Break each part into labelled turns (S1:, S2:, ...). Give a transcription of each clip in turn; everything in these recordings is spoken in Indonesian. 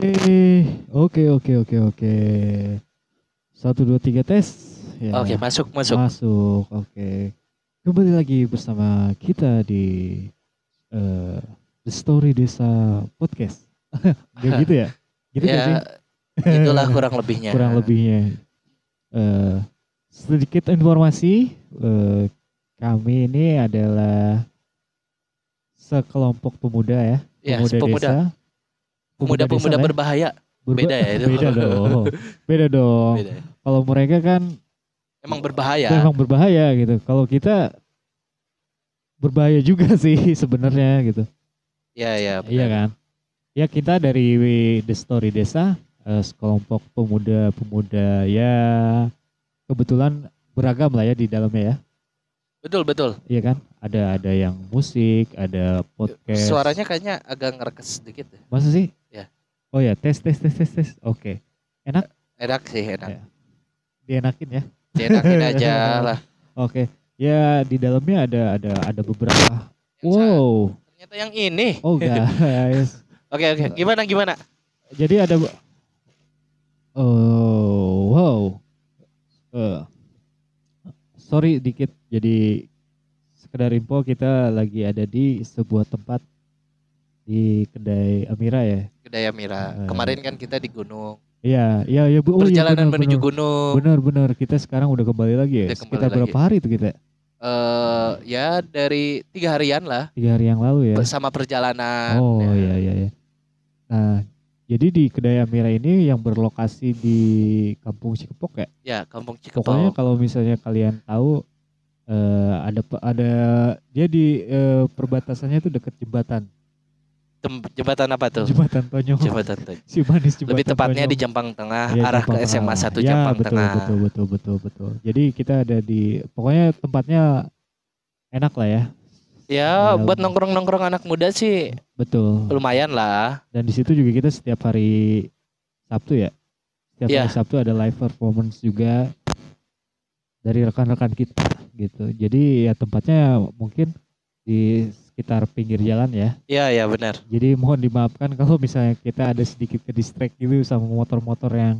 S1: Eh, Oke oke oke oke. Satu dua tiga tes. Ya,
S2: Oke, masuk, masuk.
S1: Masuk. Oke. Kembali lagi bersama kita di eh, The Story Desa Podcast. Gak gitu ya? Gitu gak sih?
S2: ya, itulah kurang lebihnya.
S1: kurang lebihnya. Eh, sedikit informasi, eh, kami ini adalah sekelompok pemuda ya,
S2: Ya,
S1: pemuda,
S2: pemuda,
S1: desa.
S2: pemuda,
S1: desa
S2: pemuda
S1: lah ya.
S2: berbahaya.
S1: Berba-
S2: beda ya itu.
S1: Beda dong. Beda dong.
S2: Beda.
S1: Kalau mereka kan
S2: Gitu ya. Emang berbahaya.
S1: memang berbahaya gitu. Kalau kita berbahaya juga sih sebenarnya gitu.
S2: Ya,
S1: Iya
S2: ya. benar.
S1: kan? Ya kita dari The Story Desa, eh, sekelompok pemuda-pemuda ya kebetulan beragam lah ya di dalamnya ya,
S2: Betul, betul.
S1: iya kan? Ada ada yang musik, ada podcast.
S2: Suaranya kayaknya agak ngerekes sedikit.
S1: masa sih?
S2: Ya.
S1: Oh ya tes tes tes tes tes. Oke,
S2: Enak sih,
S1: Iya.
S2: enak.
S1: dienakin ya.
S2: Enakin aja lah.
S1: Oke, ya di dalamnya ada ada ada beberapa.
S2: Yang
S1: Wow,
S2: sa- Ternyata yang ini.
S1: oh guys.
S2: Oke, oke. Gimana, gimana?
S1: Jadi ada Oh, wow. Eh, sorry dikit. Jadi sekedar info kita lagi ada di sebuah tempat di kedai Amira ya.
S2: Kedaya Mira.
S1: Eh.
S2: Kemarin kan kita di gunung.
S1: Iya, iya ya Bu. Oh, iya,
S2: Perjalanan
S1: benar,
S2: menuju
S1: benar.
S2: gunung.
S1: Benar benar kita sekarang udah kembali lagi ya.
S2: Udah kembali
S1: Sekitar berapa hari itu kita?
S2: Eh, ya dari tiga harian lah.
S1: Tiga hari yang lalu ya.
S2: Bersama perjalanan.
S1: Oh
S2: Ya.
S1: iya iya iya. Nah, jadi di kedai Amira ini yang berlokasi di Kampung Cikepok ya?
S2: Ya, Kampung
S1: pokoknya
S2: Cikepau.
S1: kalau misalnya kalian tahu eh ada pe- ada dia di eh, perbatasannya itu deket jembatan
S2: Jem- Jembatan apa tuh?
S1: jembatan Tonyong
S2: Jembatan tuh.
S1: si manis jembatan
S2: Lebih tepatnya di
S1: Tonyong.
S2: Jampang Tengah,
S1: Ya,
S2: arah
S1: Jampang
S2: ke SMA
S1: Tengah.
S2: 1
S1: ya,
S2: Jampang
S1: betul,
S2: Tengah.
S1: betul betul betul betul jadi kita ada di pokoknya tempatnya enak lah ya
S2: Ya,
S1: Ya,
S2: buat
S1: betul. Iya.
S2: nongkrong-nongkrong anak muda sih
S1: betul
S2: lumayan lah.
S1: dan di situ juga kita setiap hari Sabtu ya setiap
S2: Iya.
S1: hari Sabtu ada live performance juga dari rekan-rekan kita gitu jadi ya tempatnya mungkin di sekitar pinggir jalan ya
S2: Iya, ya benar.
S1: jadi mohon dimaafkan kalau misalnya kita ada sedikit ke distract gitu sama motor-motor yang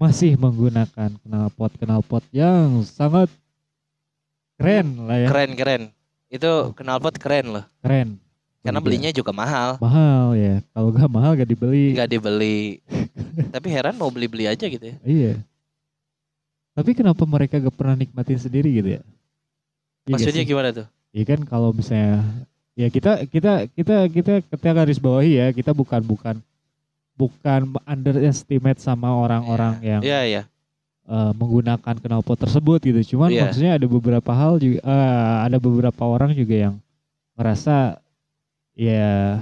S1: masih menggunakan knalpot knalpot yang sangat keren lah ya
S2: Keren-keren. Itu knalpot keren loh.
S1: keren
S2: Karena
S1: Jadi
S2: belinya juga mahal,
S1: ya, mahal ya kalau nggak mahal nggak dibeli
S2: nggak dibeli. Tapi heran mau beli-beli aja gitu ya.
S1: Iya. Tapi kenapa mereka gak pernah nikmatin sendiri gitu ya? Iya gak
S2: Maksudnya
S1: sih?
S2: gimana tuh?
S1: Iya kan kalau misalnya ya kita kita kita kita kita garis bawahi ya kita bukan bukan bukan underestimate sama orang-orang yang
S2: Iya, iya.
S1: eh, menggunakan knalpot tersebut gitu. Cuman
S2: Iya.
S1: maksudnya ada beberapa hal juga eh, ada beberapa orang juga yang merasa ya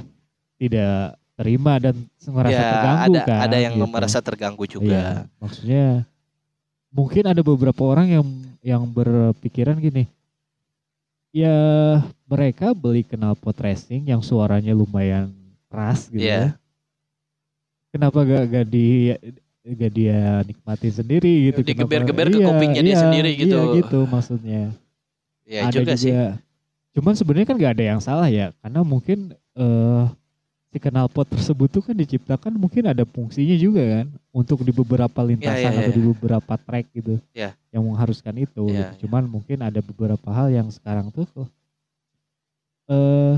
S1: tidak terima dan merasa
S2: Ya,
S1: terganggu
S2: ada
S1: kan.
S2: ada yang
S1: gitu.
S2: merasa terganggu
S1: Iya,
S2: juga.
S1: maksudnya mungkin ada beberapa orang yang yang berpikiran gini. Ya, mereka beli knalpot racing yang suaranya lumayan keras gitu ya.
S2: Iya.
S1: Kenapa gak gak di gak dia nikmatin sendiri gitu. Kenapa-
S2: Digeber-geber ke kupingnya dia sendiri gitu.
S1: Iya, gitu maksudnya. ada
S2: Ya,
S1: juga.
S2: juga, sih.
S1: Cuman sebenarnya kan gak ada yang salah ya, karena mungkin eh si knalpot tersebut tuh kan diciptakan mungkin ada fungsinya juga kan untuk di beberapa lintasan
S2: ya,
S1: atau
S2: ya.
S1: di beberapa track gitu.
S2: Ya.
S1: Yang mengharuskan itu.
S2: Ya,
S1: gitu. Cuman mungkin ada beberapa hal yang sekarang tuh eh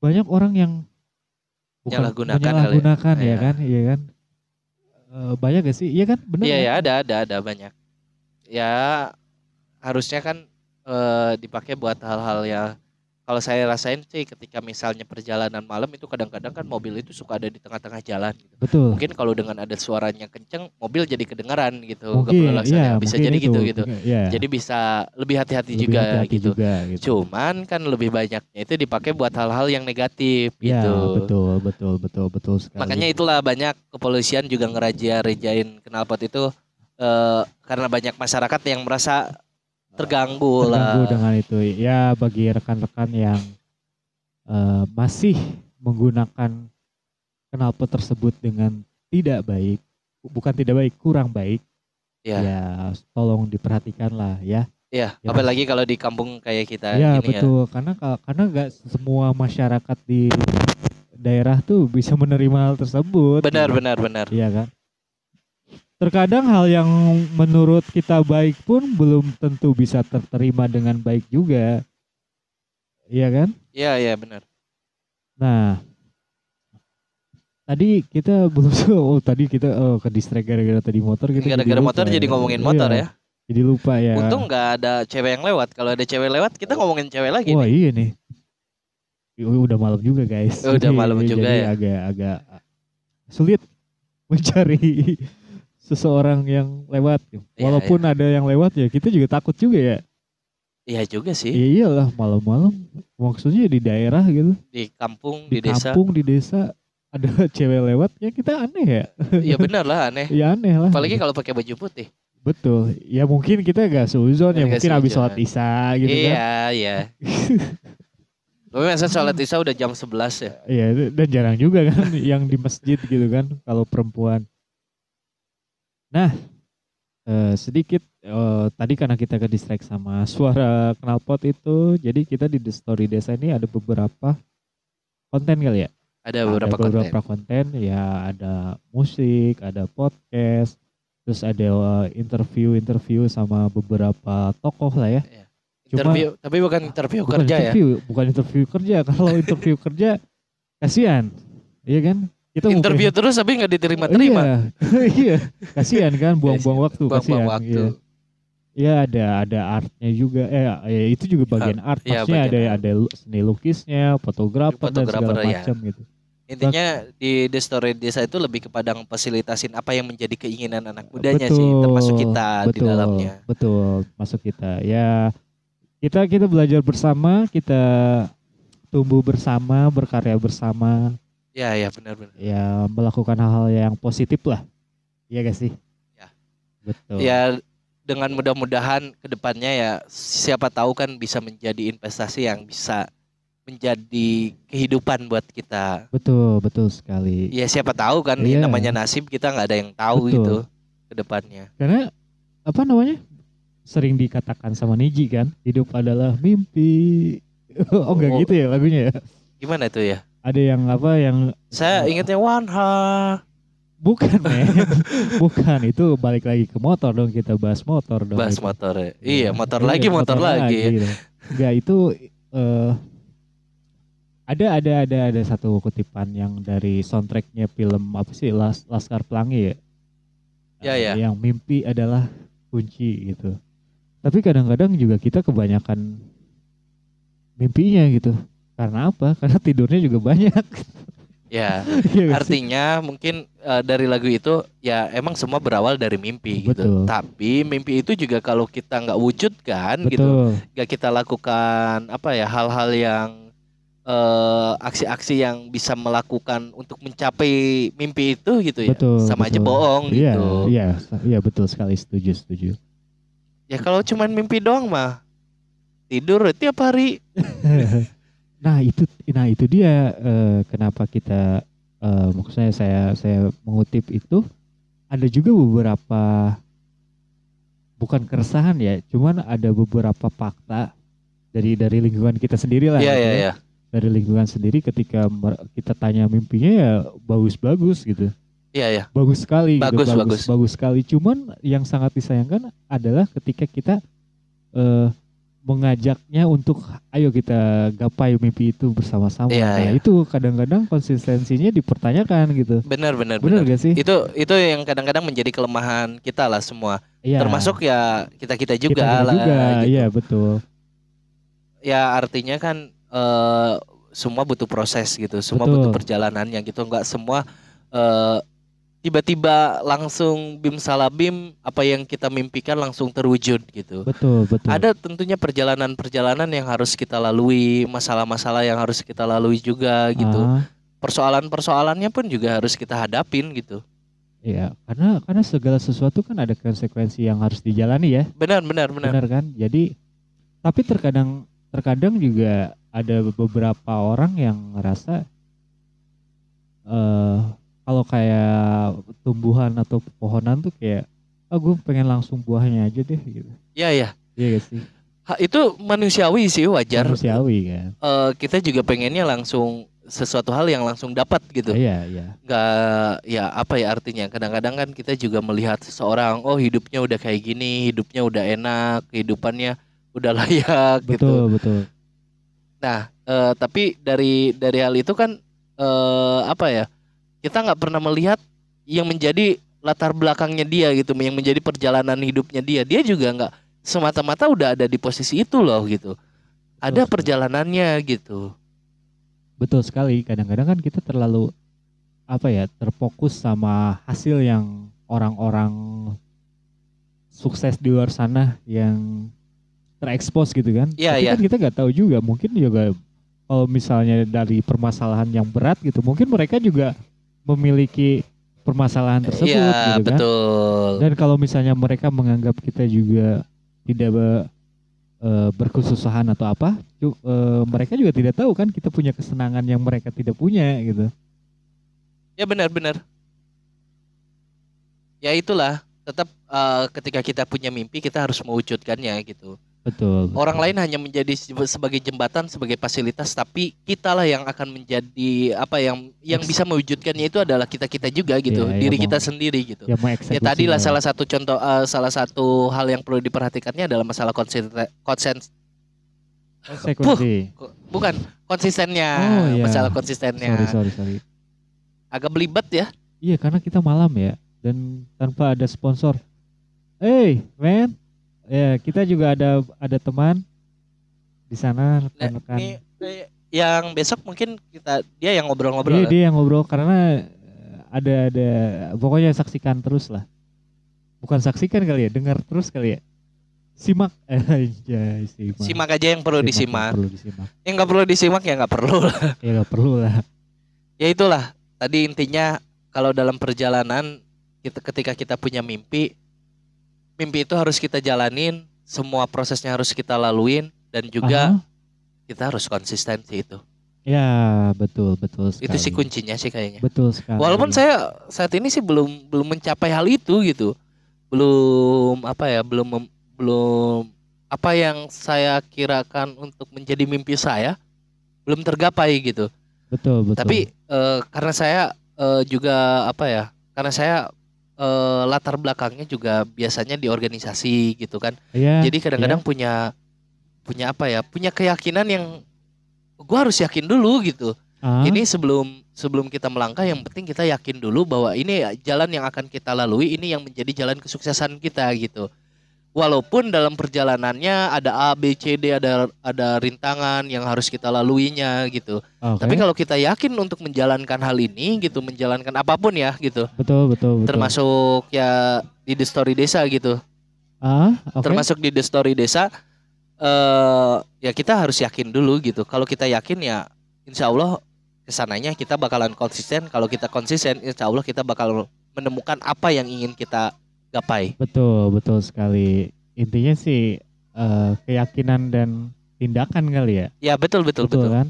S1: banyak orang yang
S2: Menyalahgunakan kali ya.
S1: menyalahgunakan ya,
S2: Ya.
S1: kan, iya kan. Eh, banyak gak sih? Iya kan, benar.
S2: Iya,
S1: kan?
S2: ya ada, ada, ada banyak. Ya harusnya kan eh, dipakai buat hal-hal yang kalau saya rasain sih ketika misalnya perjalanan malam itu kadang-kadang kan mobil itu suka ada di tengah-tengah jalan gitu.
S1: Betul.
S2: Mungkin kalau dengan ada suaranya kenceng, mobil jadi kedengaran gitu.
S1: Mungkin, ya,
S2: keberlaksanaan. bisa
S1: mungkin
S2: jadi
S1: itu,
S2: gitu gitu.
S1: mungkin, ya.
S2: Jadi bisa lebih hati-hati
S1: Lebih
S2: juga
S1: hati-hati
S2: gitu.
S1: juga, gitu.
S2: Cuman kan lebih banyaknya itu dipakai buat hal-hal yang negatif
S1: Ya,
S2: gitu.
S1: betul, betul, betul, betul sekali.
S2: Makanya itulah banyak kepolisian juga ngerajia-rejain knalpot itu eh, karena banyak masyarakat yang merasa terganggu,
S1: terganggu
S2: lah.
S1: dengan itu. Ya, bagi rekan-rekan yang eh, masih menggunakan knalpot tersebut dengan tidak baik, bukan tidak baik, kurang baik,
S2: Ya,
S1: ya, tolong diperhatikan lah ya.
S2: ya.
S1: Ya.
S2: Apalagi kalau di kampung kayak kita
S1: ya,
S2: gini ya.
S1: betul. Karena ka- karena nggak semua masyarakat di daerah tuh bisa menerima hal tersebut. gitu.
S2: Benar, benar, benar.
S1: Iya kan? terkadang hal yang menurut kita baik pun belum tentu bisa terterima dengan baik juga. Iya kan?
S2: Iya iya benar.
S1: Nah, tadi kita belum oh tadi kita oh ke distract gara-gara tadi motor kita
S2: Gara-gara motor jadi ngomongin motor
S1: Iya,
S2: ya.
S1: Jadi lupa ya.
S2: Untung nggak ada cewek yang lewat. Kalau ada cewek lewat kita ngomongin cewek lagi
S1: Wah
S2: nih.
S1: iya nih. Ih, Udah malam juga guys. Iya,
S2: Udah malam juga
S1: jadi
S2: ya.
S1: Agak-agak sulit mencari seseorang yang lewat.
S2: Iya,
S1: Walaupun ada yang lewat ya kita juga takut juga ya.
S2: Iya juga sih
S1: Iya iyalah malam-malam. Maksudnya di daerah gitu,
S2: di kampung
S1: di,
S2: di, desa.
S1: kampung, di desa ada cewek lewat ya kita aneh ya.
S2: Iya benar lah aneh.
S1: Ya aneh lah.
S2: Apalagi kalau pakai baju putih.
S1: Betul. Ya mungkin kita gak seuzon ya
S2: Nggak
S1: mungkin habis
S2: seuzon.
S1: sholat isya gitu kan.
S2: iya iya. Tapi masa sholat isya udah jam 11 ya.
S1: Iya dan jarang juga kan yang di masjid gitu kan kalau perempuan. Nah eh, sedikit eh, tadi karena kita ke distract sama suara knalpot itu jadi kita di The Story Desa ini ada beberapa konten kali ya.
S2: Ada beberapa
S1: ada
S2: konten.
S1: beberapa konten. ya ada musik ada podcast terus ada eh, interview-interview sama beberapa tokoh lah ya Cuma-
S2: Iya. Interview, tapi bukan interview kerja ya.
S1: interview, bukan interview kerja. Kalau interview kerja kasihan. Iya kan? Kita mau
S2: Interview
S1: pengen-
S2: terus tapi nggak diterima-terima.
S1: Iya. iya. Kasihan kan buang-buang waktu,
S2: Buang-buang
S1: kasihan.
S2: waktu.
S1: Iya. Iya ada ada artnya juga eh ya, itu juga bagian art
S2: iya,
S1: maksudnya
S2: bagian
S1: ada ada lu- seni lukisnya fotografer, dan segala
S2: Fotografer, ya.
S1: macam gitu
S2: Intinya di The Story Desa itu lebih kepada ngefasilitasin apa yang menjadi keinginan anak mudanya sih,
S1: Betul,
S2: termasuk kita di
S1: betul
S2: dalamnya.
S1: betul masuk kita ya kita kita belajar bersama kita tumbuh bersama berkarya bersama
S2: Ya, ya benar-benar.
S1: ya melakukan hal-hal yang positif lah. Iya gak sih?
S2: Ya.
S1: Betul.
S2: Ya dengan mudah-mudahan kedepannya ya siapa tahu kan bisa menjadi investasi yang bisa menjadi kehidupan buat kita.
S1: Betul, betul sekali.
S2: Ya siapa tahu kan
S1: Iya.
S2: namanya nasib kita nggak ada yang tahu
S1: Betul.
S2: gitu kedepannya.
S1: Karena apa namanya? Sering dikatakan sama Niji kan, hidup adalah mimpi. oh enggak
S2: Oh.
S1: gitu ya lagunya ya.
S2: Gimana tuh ya?
S1: Ada yang apa yang
S2: Saya
S1: Oh.
S2: ingatnya One Heart
S1: bukan men. bukan itu balik lagi ke motor dong kita bahas motor dong.
S2: bahas
S1: itu.
S2: motor. ya. Iya, motor
S1: Iya,
S2: lagi, motor, lagi.
S1: gitu. Enggak itu eh, ada ada ada ada satu kutipan yang dari soundtracknya film apa sih Las, Laskar Pelangi ya.
S2: Ya,
S1: Eh,
S2: ya.
S1: Yang mimpi adalah kunci gitu. Tapi kadang-kadang juga kita kebanyakan mimpinya gitu. Karena apa? Karena tidurnya juga banyak.
S2: Ya.
S1: Iya nggak sih?
S2: Artinya mungkin eh, dari lagu itu ya emang semua berawal dari mimpi gitu.
S1: Betul.
S2: Tapi mimpi itu juga kalau kita nggak wujudkan gitu,
S1: Betul.
S2: nggak kita lakukan apa ya hal-hal yang eh, aksi-aksi yang bisa melakukan untuk mencapai mimpi itu gitu ya.
S1: Betul,
S2: Sama aja
S1: betul.
S2: bohong
S1: Iya,
S2: gitu.
S1: iya, iya betul sekali setuju, setuju.
S2: Ya kalau cuman mimpi doang mah tidur tiap hari.
S1: nah itu nah itu dia eh, kenapa kita eh, maksudnya saya saya mengutip itu ada juga beberapa bukan keresahan ya cuman ada beberapa fakta dari dari lingkungan kita sendiri lah
S2: Iya
S1: gitu
S2: iya
S1: ya.
S2: iya.
S1: dari lingkungan sendiri ketika mer- kita tanya mimpinya ya bagus-bagus gitu
S2: Iya iya.
S1: bagus sekali
S2: Bagus,
S1: gitu,
S2: bagus.
S1: bagus sekali cuman yang sangat disayangkan adalah ketika kita eh, mengajaknya untuk ayo kita gapai mimpi itu bersama-sama
S2: Iya,
S1: nah
S2: iya.
S1: itu kadang-kadang konsistensinya dipertanyakan gitu
S2: Benar benar
S1: benar
S2: benar.
S1: gak sih
S2: Itu itu yang kadang-kadang menjadi kelemahan kita lah semua.
S1: Iya.
S2: termasuk ya kita kita
S1: kita
S2: juga
S1: kita
S2: lah
S1: juga
S2: gitu.
S1: iya betul
S2: ya artinya kan eh, semua butuh proses gitu semua
S1: Betul.
S2: butuh perjalanannya gitu nggak semua eh, tiba-tiba langsung bim salabim apa yang kita mimpikan langsung terwujud gitu
S1: betul betul
S2: ada tentunya perjalanan-perjalanan yang harus kita lalui masalah-masalah yang harus kita lalui juga gitu
S1: Ah,
S2: persoalan-persoalannya pun juga harus kita hadapin gitu
S1: iya karena karena segala sesuatu kan ada konsekuensi yang harus dijalani ya
S2: benar benar benar
S1: benar kan jadi tapi terkadang terkadang juga ada beberapa orang yang ngerasa eh kalau kayak tumbuhan atau pepohonan tuh kayak ah gue pengen langsung buahnya aja deh gitu
S2: ya ya
S1: iya gak sih
S2: Ha, itu manusiawi sih wajar
S1: manusiawi kan
S2: eh kita juga pengennya langsung sesuatu hal yang langsung dapat gitu
S1: Iya, iya.
S2: nggak ya apa ya artinya kadang-kadang kan kita juga melihat seseorang oh hidupnya udah kayak gini hidupnya udah enak kehidupannya udah layak gitu
S1: Betul, betul.
S2: nah eh, tapi dari dari hal itu kan eh, apa ya kita nggak pernah melihat yang menjadi latar belakangnya dia gitu yang menjadi perjalanan hidupnya dia dia juga nggak semata-mata udah ada di posisi itu loh gitu ada
S1: Betul.
S2: perjalanannya gitu
S1: Betul sekali. Kadang-kadang kan kita terlalu apa ya, terfokus sama hasil yang orang-orang sukses di luar sana yang terekspos gitu kan.
S2: Iya,
S1: Tapi
S2: iya.
S1: kan kita nggak tahu juga, mungkin juga kalau misalnya dari permasalahan yang berat gitu, mungkin mereka juga memiliki permasalahan tersebut
S2: Iya
S1: gitu kan.
S2: betul
S1: Dan kalau misalnya mereka menganggap kita juga tidak be- eh, berkesusahan atau apa, ju- eh, mereka juga tidak tahu kan kita punya kesenangan yang mereka tidak punya gitu.
S2: Ya benar-benar. Ya itulah, tetap eh, ketika kita punya mimpi kita harus mewujudkannya gitu.
S1: Betul.
S2: Orang lain hanya menjadi se- sebagai jembatan, sebagai fasilitas, tapi kitalah yang akan menjadi apa yang yang bisa mewujudkannya itu adalah kita-kita juga gitu,
S1: Iya, iya,
S2: diri
S1: Bang.
S2: kita sendiri gitu.
S1: ya,
S2: Ya
S1: mengeksekusi
S2: tadilah
S1: lah.
S2: salah satu contoh eh, salah satu hal yang perlu diperhatikannya adalah masalah konsen konsen
S1: Konsekuensi.
S2: ko- bukan konsistennya,
S1: Oh, iya.
S2: masalah konsistennya.
S1: Sorry, sorry, sorry.
S2: Agak belibet ya.
S1: Iya, karena kita malam ya dan tanpa ada sponsor. Hey, man. Ya, kita juga ada ada teman di sana
S2: Nah,
S1: rekan-rekan.
S2: ini eh, yang besok mungkin kita dia yang
S1: Dia,
S2: ngobrol-ngobrol. lah.
S1: Iya, dia yang ngobrol karena eh, ada ada pokoknya saksikan terus lah. Bukan saksikan kali ya, dengar terus kali ya. Simak eh ya, simak.
S2: Simak aja yang perlu
S1: Simak, nggak
S2: disimak.
S1: Perlu disimak.
S2: Yang nggak perlu disimak ya nggak perlu lah.
S1: Ya nggak perlu lah.
S2: Ya itulah. Tadi intinya kalau dalam perjalanan kita ketika kita punya mimpi, mimpi itu harus kita jalanin, semua prosesnya harus kita laluin dan juga
S1: Aha.
S2: kita harus konsisten sih itu.
S1: Ya, betul, betul sekali.
S2: Itu sih kuncinya sih kayaknya.
S1: Betul sekali.
S2: Walaupun saya saat ini sih belum belum mencapai hal itu gitu. Belum apa ya, belum mem- belum apa yang saya kirakan untuk menjadi mimpi saya belum tergapai gitu.
S1: betul, betul.
S2: Tapi eh, karena saya eh, juga apa ya? Karena saya eh, latar belakangnya juga biasanya di organisasi gitu kan.
S1: ya,
S2: Jadi kadang-kadang punya punya apa ya? Punya keyakinan yang gua harus yakin dulu gitu.
S1: ah,
S2: Ini sebelum sebelum kita melangkah yang penting kita yakin dulu bahwa ini jalan yang akan kita lalui, ini yang menjadi jalan kesuksesan kita gitu. Walaupun dalam perjalanannya ada A, B, C, D, ada ada rintangan yang harus kita laluinya gitu.
S1: oke.
S2: Tapi kalau kita yakin untuk menjalankan hal ini gitu, menjalankan apapun ya gitu,
S1: betul, betul, betul.
S2: termasuk ya di The Story Desa gitu,
S1: ah, oke.
S2: termasuk di The Story Desa, eh ya kita harus yakin dulu gitu. Kalau kita yakin ya, insya Allah kesananya kita bakalan konsisten. Kalau kita konsisten, insya Allah kita bakal menemukan apa yang ingin kita gapai.
S1: Betul, betul sekali. Intinya sih eh, keyakinan dan tindakan kali ya.
S2: Ya betul betul betul,
S1: kan?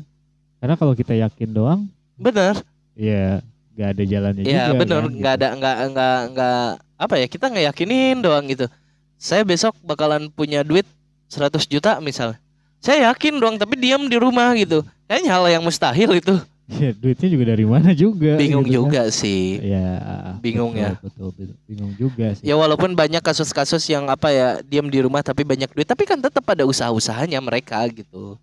S1: Karena kalau kita yakin doang
S2: bener.
S1: Iya, nggak ada jalannya juga.
S2: Ya bener,
S1: kan,
S2: nggak
S1: gitu.
S2: ada nggak nggak nggak apa ya kita nggak yakinin doang gitu. Saya besok bakalan punya duit 100 juta misalnya. Saya yakin doang tapi diam di rumah gitu. Kayaknya hal yang mustahil itu.
S1: Ya, duitnya juga dari mana juga.
S2: Bingung
S1: gitu kan.
S2: juga sih.
S1: Ya.
S2: Bingung
S1: betul,
S2: ya.
S1: Betul, betul. Bingung juga sih.
S2: Ya walaupun banyak kasus-kasus yang apa ya diam di rumah tapi banyak duit tapi kan tetap ada usaha-usahanya mereka gitu.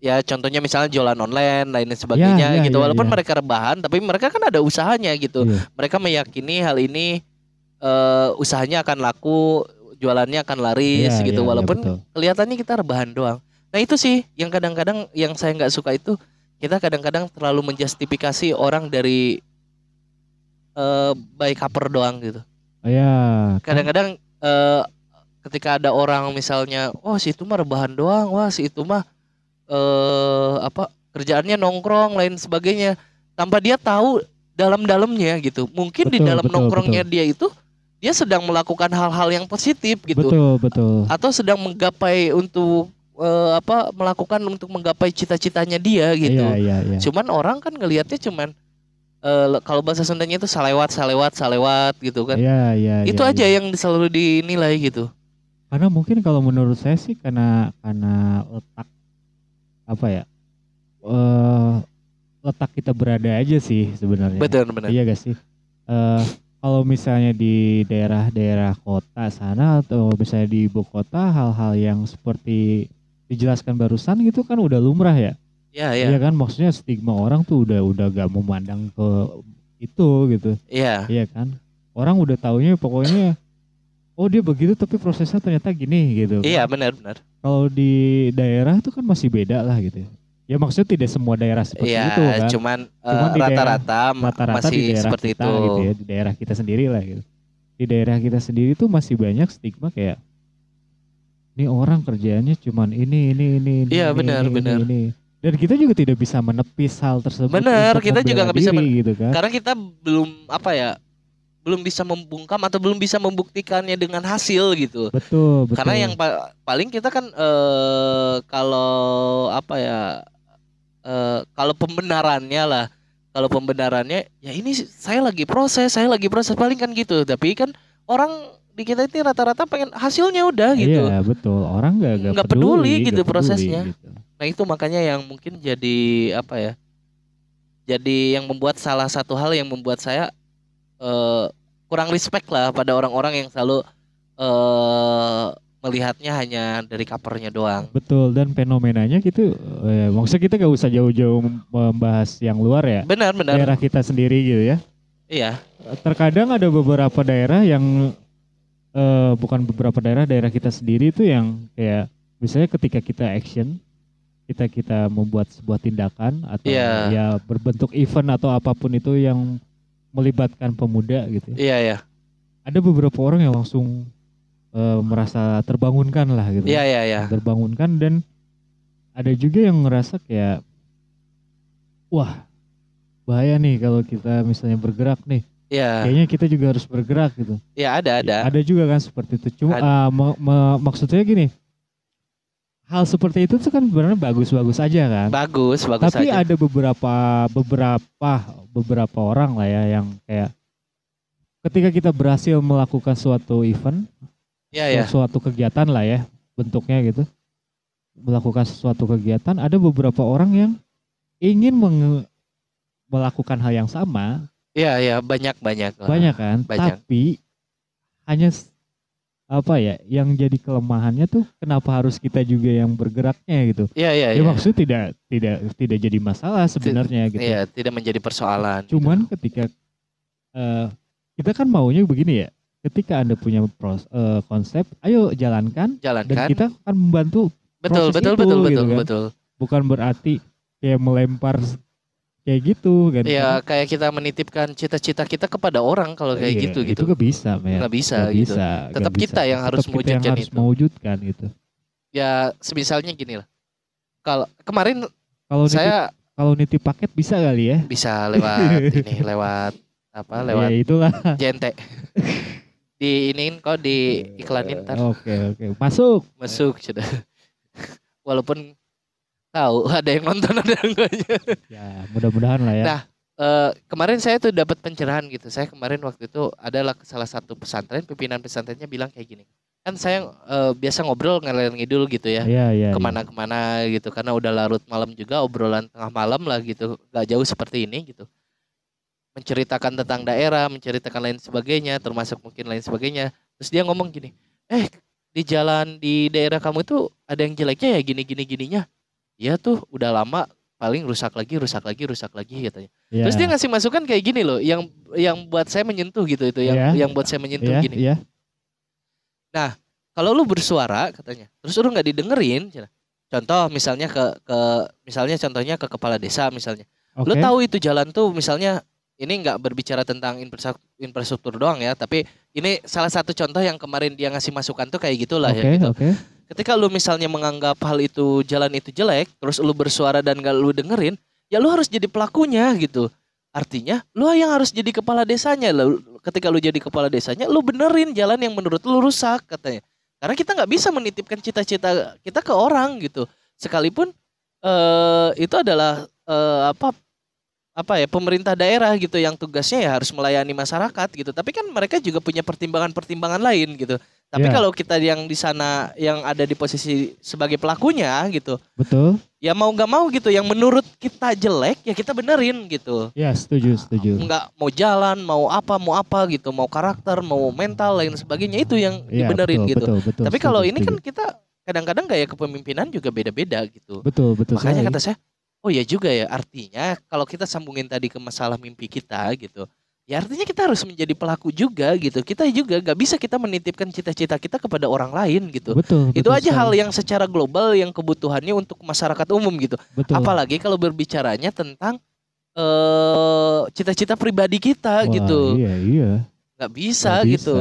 S2: Ya contohnya misalnya jualan online lain dan sebagainya
S1: ya,
S2: gitu.
S1: ya,
S2: walaupun
S1: ya.
S2: mereka rebahan tapi mereka kan ada usahanya gitu.
S1: Iya.
S2: mereka meyakini hal ini eh, usahanya akan laku, jualannya akan laris
S1: Iya, iya,
S2: gitu.
S1: iya,
S2: Walaupun
S1: betul.
S2: kelihatannya kita rebahan doang. Nah itu sih yang kadang-kadang yang saya nggak suka itu kita kadang-kadang terlalu menjustifikasi orang dari eh by cover doang gitu.
S1: Oh, ya.
S2: Kadang-kadang eh, ketika ada orang misalnya, oh si itu mah rebahan doang, wah si itu mah eh apa kerjaannya nongkrong lain sebagainya, tanpa dia tahu dalam-dalamnya gitu. Mungkin di
S1: Betul,
S2: dalam
S1: betul,
S2: nongkrongnya dia itu dia sedang melakukan hal-hal yang positif gitu,
S1: Betul, betul.
S2: atau sedang menggapai untuk eh, apa melakukan untuk menggapai cita-citanya dia gitu.
S1: Iya, iya, iya.
S2: Cuman orang kan ngelihatnya cuman eh, le- kalau bahasa Sundanya itu salewat, salewat, salewat gitu kan.
S1: Iya, iya,
S2: itu
S1: iya,
S2: aja
S1: iya.
S2: yang selalu dinilai gitu.
S1: Karena mungkin kalau menurut saya sih karena karena letak apa ya? Eh letak kita berada aja sih sebenarnya.
S2: bener bener
S1: Iya gak sih? Eh, kalau misalnya di daerah-daerah kota sana atau misalnya di ibu kota hal-hal yang seperti dijelaskan barusan gitu kan udah lumrah ya.
S2: iya iya
S1: Iya kan maksudnya stigma orang tuh udah udah gak memandang ke itu gitu.
S2: iya
S1: Iya kan? Orang udah taunya pokoknya oh dia begitu tapi prosesnya ternyata gini gitu.
S2: iya bener bener
S1: Kalau di daerah tuh kan masih beda lah gitu. Ya maksudnya tidak semua daerah seperti
S2: iya
S1: itu kan.
S2: cuman eh,
S1: Cuman di
S2: rata-rata ma-
S1: rata-rata di
S2: masih
S1: daerah
S2: seperti
S1: kita
S2: itu
S1: gitu ya, di daerah kita sendiri lah gitu. Di daerah kita sendiri tuh masih banyak stigma kayak ini orang kerjaannya cuman ini ini ini ini.
S2: Iya,
S1: ini,
S2: benar,
S1: ini, ini,
S2: benar.
S1: ini." Dan kita juga tidak bisa menepis hal tersebut.
S2: Benar,
S1: untuk
S2: kita juga
S1: membela
S2: nggak bisa
S1: diri gitu kan.
S2: karena kita belum apa ya belum bisa membungkam atau belum bisa membuktikannya dengan hasil gitu
S1: Betul, betul.
S2: karena yang pa- paling kita kan eh kalau apa ya eh kalau pembenarannya lah kalau pembenarannya ya ini sih, saya lagi proses saya lagi proses paling kan gitu tapi kan orang di kita ini rata-rata pengen hasilnya udah gitu
S1: Iya, betul. Orang nggak nggak
S2: Nggak peduli
S1: nggak
S2: gitu
S1: peduli
S2: prosesnya.
S1: gitu.
S2: Nah itu makanya yang mungkin jadi apa ya? Jadi yang membuat salah satu hal yang membuat saya eh, kurang respect lah pada orang-orang yang selalu eh melihatnya hanya dari covernya doang.
S1: Betul dan fenomenanya gitu eh, maksudnya kita nggak usah jauh-jauh membahas yang luar ya.
S2: Benar benar.
S1: Daerah kita sendiri gitu ya.
S2: Iya.
S1: terkadang ada beberapa daerah yang eh, bukan beberapa daerah daerah kita sendiri itu yang kayak misalnya ketika kita action kita kita membuat sebuah tindakan atau
S2: Iya.
S1: ya berbentuk event atau apapun itu yang melibatkan pemuda gitu ya.
S2: Iya ya.
S1: ada beberapa orang yang langsung eh, merasa terbangunkan lah gitu
S2: Iya iya iya.
S1: terbangunkan dan ada juga yang ngerasa kayak wah bahaya nih kalau kita misalnya bergerak nih
S2: Iya.
S1: kayaknya kita juga harus bergerak gitu.
S2: Iya ada ada.
S1: Ada juga kan seperti itu. Cuma
S2: Ada.
S1: ah, ma- ma- maksudnya gini, hal seperti itu tuh kan sebenarnya bagus-bagus aja kan.
S2: Bagus bagus
S1: Tapi
S2: aja.
S1: ada beberapa beberapa beberapa orang lah ya yang kayak ketika kita berhasil melakukan suatu event,
S2: Iya ya.
S1: suatu kegiatan lah ya bentuknya gitu, melakukan sesuatu kegiatan, ada beberapa orang yang ingin menge- melakukan hal yang sama
S2: Iya iya banyak banyak.
S1: banyak kan
S2: banyak.
S1: tapi hanya s- apa ya yang jadi kelemahannya tuh kenapa harus kita juga yang bergeraknya gitu
S2: Iya iya
S1: ya,
S2: iya.
S1: maksud tidak tidak tidak jadi masalah sebenarnya gitu
S2: Iya tidak menjadi persoalan.
S1: cuman ketika eh, kita kan maunya begini ya ketika anda punya pros- eh, konsep ayo jalankan dan
S2: jalankan.
S1: kita akan membantu
S2: Betul
S1: proses
S2: betul
S1: itu,
S2: betul
S1: gitu
S2: betul
S1: kan.
S2: betul.
S1: bukan berarti kayak melempar s- kayak gitu kan
S2: Iya kayak kita menitipkan cita-cita kita kepada orang kalau kayak
S1: Iya,
S2: gitu
S1: itu
S2: gitu.
S1: nggak bisa men
S2: nggak bisa
S1: Nggak
S2: gitu.
S1: bisa,
S2: Tetap
S1: nggak
S2: kita
S1: bisa.
S2: yang harus
S1: Tetap kita
S2: mewujudkan
S1: harus
S2: itu.
S1: mewujudkan gitu.
S2: Ya semisalnya gini lah. Kalau kemarin
S1: Kalau nitip,
S2: saya
S1: kalau nitip paket bisa kali ya.
S2: bisa lewat ini lewat apa Ah, lewat
S1: Ya itulah.
S2: JNT. Diinin kok diiklanin ntar
S1: Oke, oke. Masuk.
S2: masuk sudah. Walaupun tahu ada yang nonton ada yang enggaknya.
S1: Ya, mudah-mudahan lah ya.
S2: Nah, Eh, kemarin saya tuh dapat pencerahan gitu. Saya kemarin waktu itu adalah ke salah satu pesantren, pimpinan pesantrennya bilang kayak gini. Kan saya eh, biasa ngobrol ngalir ngidul gitu ya.
S1: ya, ya.
S2: kemana-kemana gitu karena udah larut malam juga obrolan tengah malam lah gitu gak jauh seperti ini gitu menceritakan tentang daerah menceritakan lain sebagainya termasuk mungkin lain sebagainya terus dia ngomong gini eh di jalan di daerah kamu tuh ada yang jeleknya ya gini gini gininya iya tuh udah lama paling rusak lagi rusak lagi rusak lagi katanya
S1: Ya.
S2: terus dia ngasih masukan kayak gini loh yang yang buat saya menyentuh gitu itu yang
S1: Iya.
S2: yang buat saya menyentuh
S1: ya,
S2: gini
S1: ya.
S2: kalau lu bersuara katanya terus lu nggak didengerin cina. contoh misalnya ke ke misalnya contohnya ke kepala desa misalnya
S1: Oke.
S2: lu tahu itu jalan tuh misalnya ini nggak berbicara tentang infrasa- infrastruktur doang ya tapi ini salah satu contoh yang kemarin dia ngasih masukan tuh kayak gitulah
S1: Oke,
S2: ya gitu
S1: oke.
S2: ketika lu misalnya menganggap hal itu jalan itu jelek terus lu bersuara dan gak lu dengerin ya lu harus jadi pelakunya gitu artinya lu yang harus jadi kepala desanya Lu- ketika lu jadi kepala desanya lu benerin jalan yang menurut lu rusak katanya karena kita nggak bisa menitipkan cita-cita kita ke orang gitu sekalipun eh itu adalah eh, apa apa ya pemerintah daerah gitu yang tugasnya ya harus melayani masyarakat gitu tapi kan mereka juga punya pertimbangan-pertimbangan lain gitu Tapi
S1: Iya.
S2: kalau kita yang di sana yang ada di posisi sebagai pelakunya gitu,
S1: Betul?
S2: ya mau nggak mau gitu yang menurut kita jelek ya kita benerin gitu.
S1: Ya, setuju, setuju.
S2: Nggak mau jalan, mau apa, mau apa gitu, mau karakter, mau mental lain sebagainya itu yang
S1: Iya,
S2: dibenerin
S1: betul,
S2: gitu.
S1: Betul, betul,
S2: Tapi kalau
S1: setuju,
S2: ini kan kita kadang-kadang gaya kepemimpinan juga beda-beda gitu.
S1: setuju. betul, betul.
S2: Makanya
S1: sekali.
S2: kata saya, oh ya juga ya artinya kalau kita sambungin tadi ke masalah mimpi kita gitu. Ya artinya kita harus menjadi pelaku juga gitu. Kita juga gak bisa kita menitipkan cita-cita kita kepada orang lain gitu.
S1: betul,
S2: Itu aja hal yang secara global yang kebutuhannya untuk masyarakat umum gitu.
S1: betul.
S2: Apalagi kalau berbicaranya tentang eh cita-cita pribadi kita
S1: Wah,
S2: gitu.
S1: Iya, iya.
S2: Gak bisa,
S1: Nggak bisa.
S2: gitu.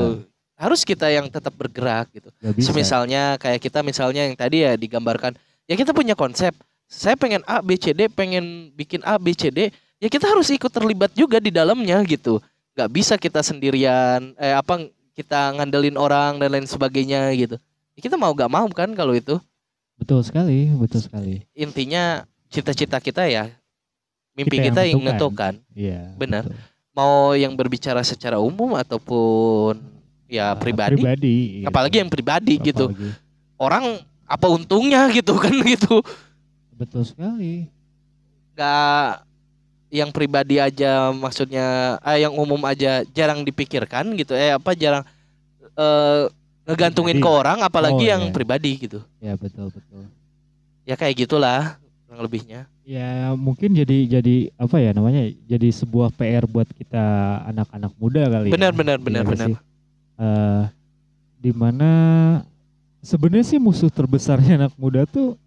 S2: Harus kita yang tetap bergerak gitu.
S1: Gak bisa.
S2: Semisalnya kayak kita misalnya yang tadi ya digambarkan, ya kita punya konsep. Saya pengen A B C D, pengen bikin A B C D, ya kita harus ikut terlibat juga di dalamnya gitu. Gak bisa kita sendirian, eh apa kita ngandelin orang dan lain sebagainya gitu. Ya, kita mau gak mau kan kalau itu
S1: Betul sekali, betul sekali.
S2: intinya cita-cita kita ya mimpi
S1: Kita yang
S2: kita, yang
S1: menentukan.
S2: menentukan.
S1: Iya.
S2: Benar.
S1: betul.
S2: Mau yang berbicara secara umum ataupun ya
S1: Ah,
S2: pribadi,
S1: Pribadi. iya.
S2: apalagi yang pribadi gitu.
S1: Apalagi.
S2: Orang apa untungnya gitu kan gitu.
S1: Betul sekali.
S2: nggak yang pribadi aja maksudnya eh, yang umum aja jarang dipikirkan gitu eh apa jarang eh, ngegantungin ke
S1: Pribadi.
S2: orang apalagi
S1: Oh,
S2: yang
S1: iya.
S2: pribadi gitu
S1: Ya, betul, betul.
S2: ya kayak gitulah kurang lebihnya
S1: Ya mungkin jadi jadi apa ya namanya jadi sebuah PR buat kita anak-anak muda kali.
S2: benar
S1: ya.
S2: benar benar
S1: Iya
S2: benar
S1: sih. Eh, di mana sebenarnya sih musuh terbesarnya anak muda tuh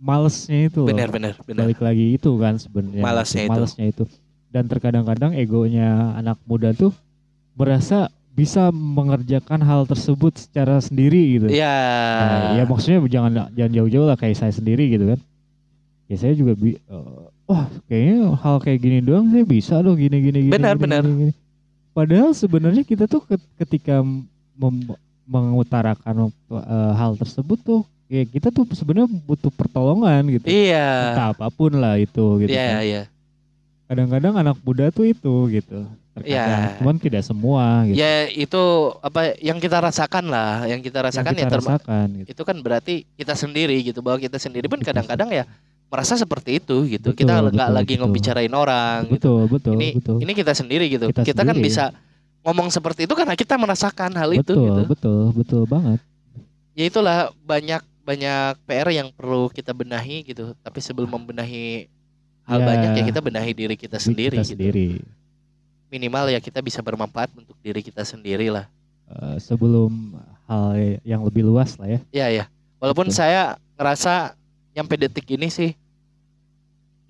S1: malesnya itu. loh.
S2: benar benar benar
S1: Balik lagi itu kan sebenarnya.
S2: Malasnya itu.
S1: Malesnya itu. Dan terkadang-kadang egonya anak muda tuh merasa bisa mengerjakan hal tersebut secara sendiri gitu.
S2: ya
S1: Nah, ya maksudnya jangan jangan jauh-jauh lah kayak saya sendiri gitu kan. Ya saya juga bi eh, wah kayaknya hal kayak gini doang saya bisa loh gini gini gini.
S2: Benar,
S1: gini,
S2: benar.
S1: gini, gini. Padahal sebenarnya kita tuh ket- ketika mem- mengutarakan eh, hal tersebut tuh ya kita tuh sebenarnya butuh pertolongan gitu.
S2: iya
S1: Entah apapun lah itu gitu.
S2: iya
S1: kan.
S2: iya
S1: Kadang-kadang anak muda tuh itu gitu. Terkadang
S2: Iya.
S1: cuman tidak semua gitu.
S2: ya itu apa yang kita rasakan lah yang
S1: Yang
S2: kita rasakan
S1: kita
S2: ya terma-
S1: rasakan gitu.
S2: itu kan berarti kita sendiri gitu bahwa kita sendiri pun
S1: Kita
S2: kadang-kadang ya merasa seperti itu gitu
S1: Betul,
S2: kita nggak
S1: betul,
S2: lagi
S1: betul.
S2: ngebicarain orang gitu
S1: Betul, betul,
S2: ini
S1: betul.
S2: ini kita sendiri gitu. Kita,
S1: Kita
S2: kan
S1: sendiri.
S2: bisa ngomong seperti itu karena kita merasakan hal itu
S1: betul,
S2: gitu.
S1: betul, betul banget.
S2: Ya itulah banyak banyak PR yang perlu kita benahi gitu. Tapi sebelum membenahi hal
S1: Ya.
S2: banyak ya kita benahi diri kita
S1: Diri
S2: sendiri
S1: kita
S2: gitu.
S1: sendiri.
S2: Minimal ya kita bisa bermanfaat untuk diri kita sendiri lah.
S1: Eh, sebelum hal yang lebih luas lah ya.
S2: Ya ya. Walaupun
S1: Betul.
S2: saya ngerasa nyampe detik ini sih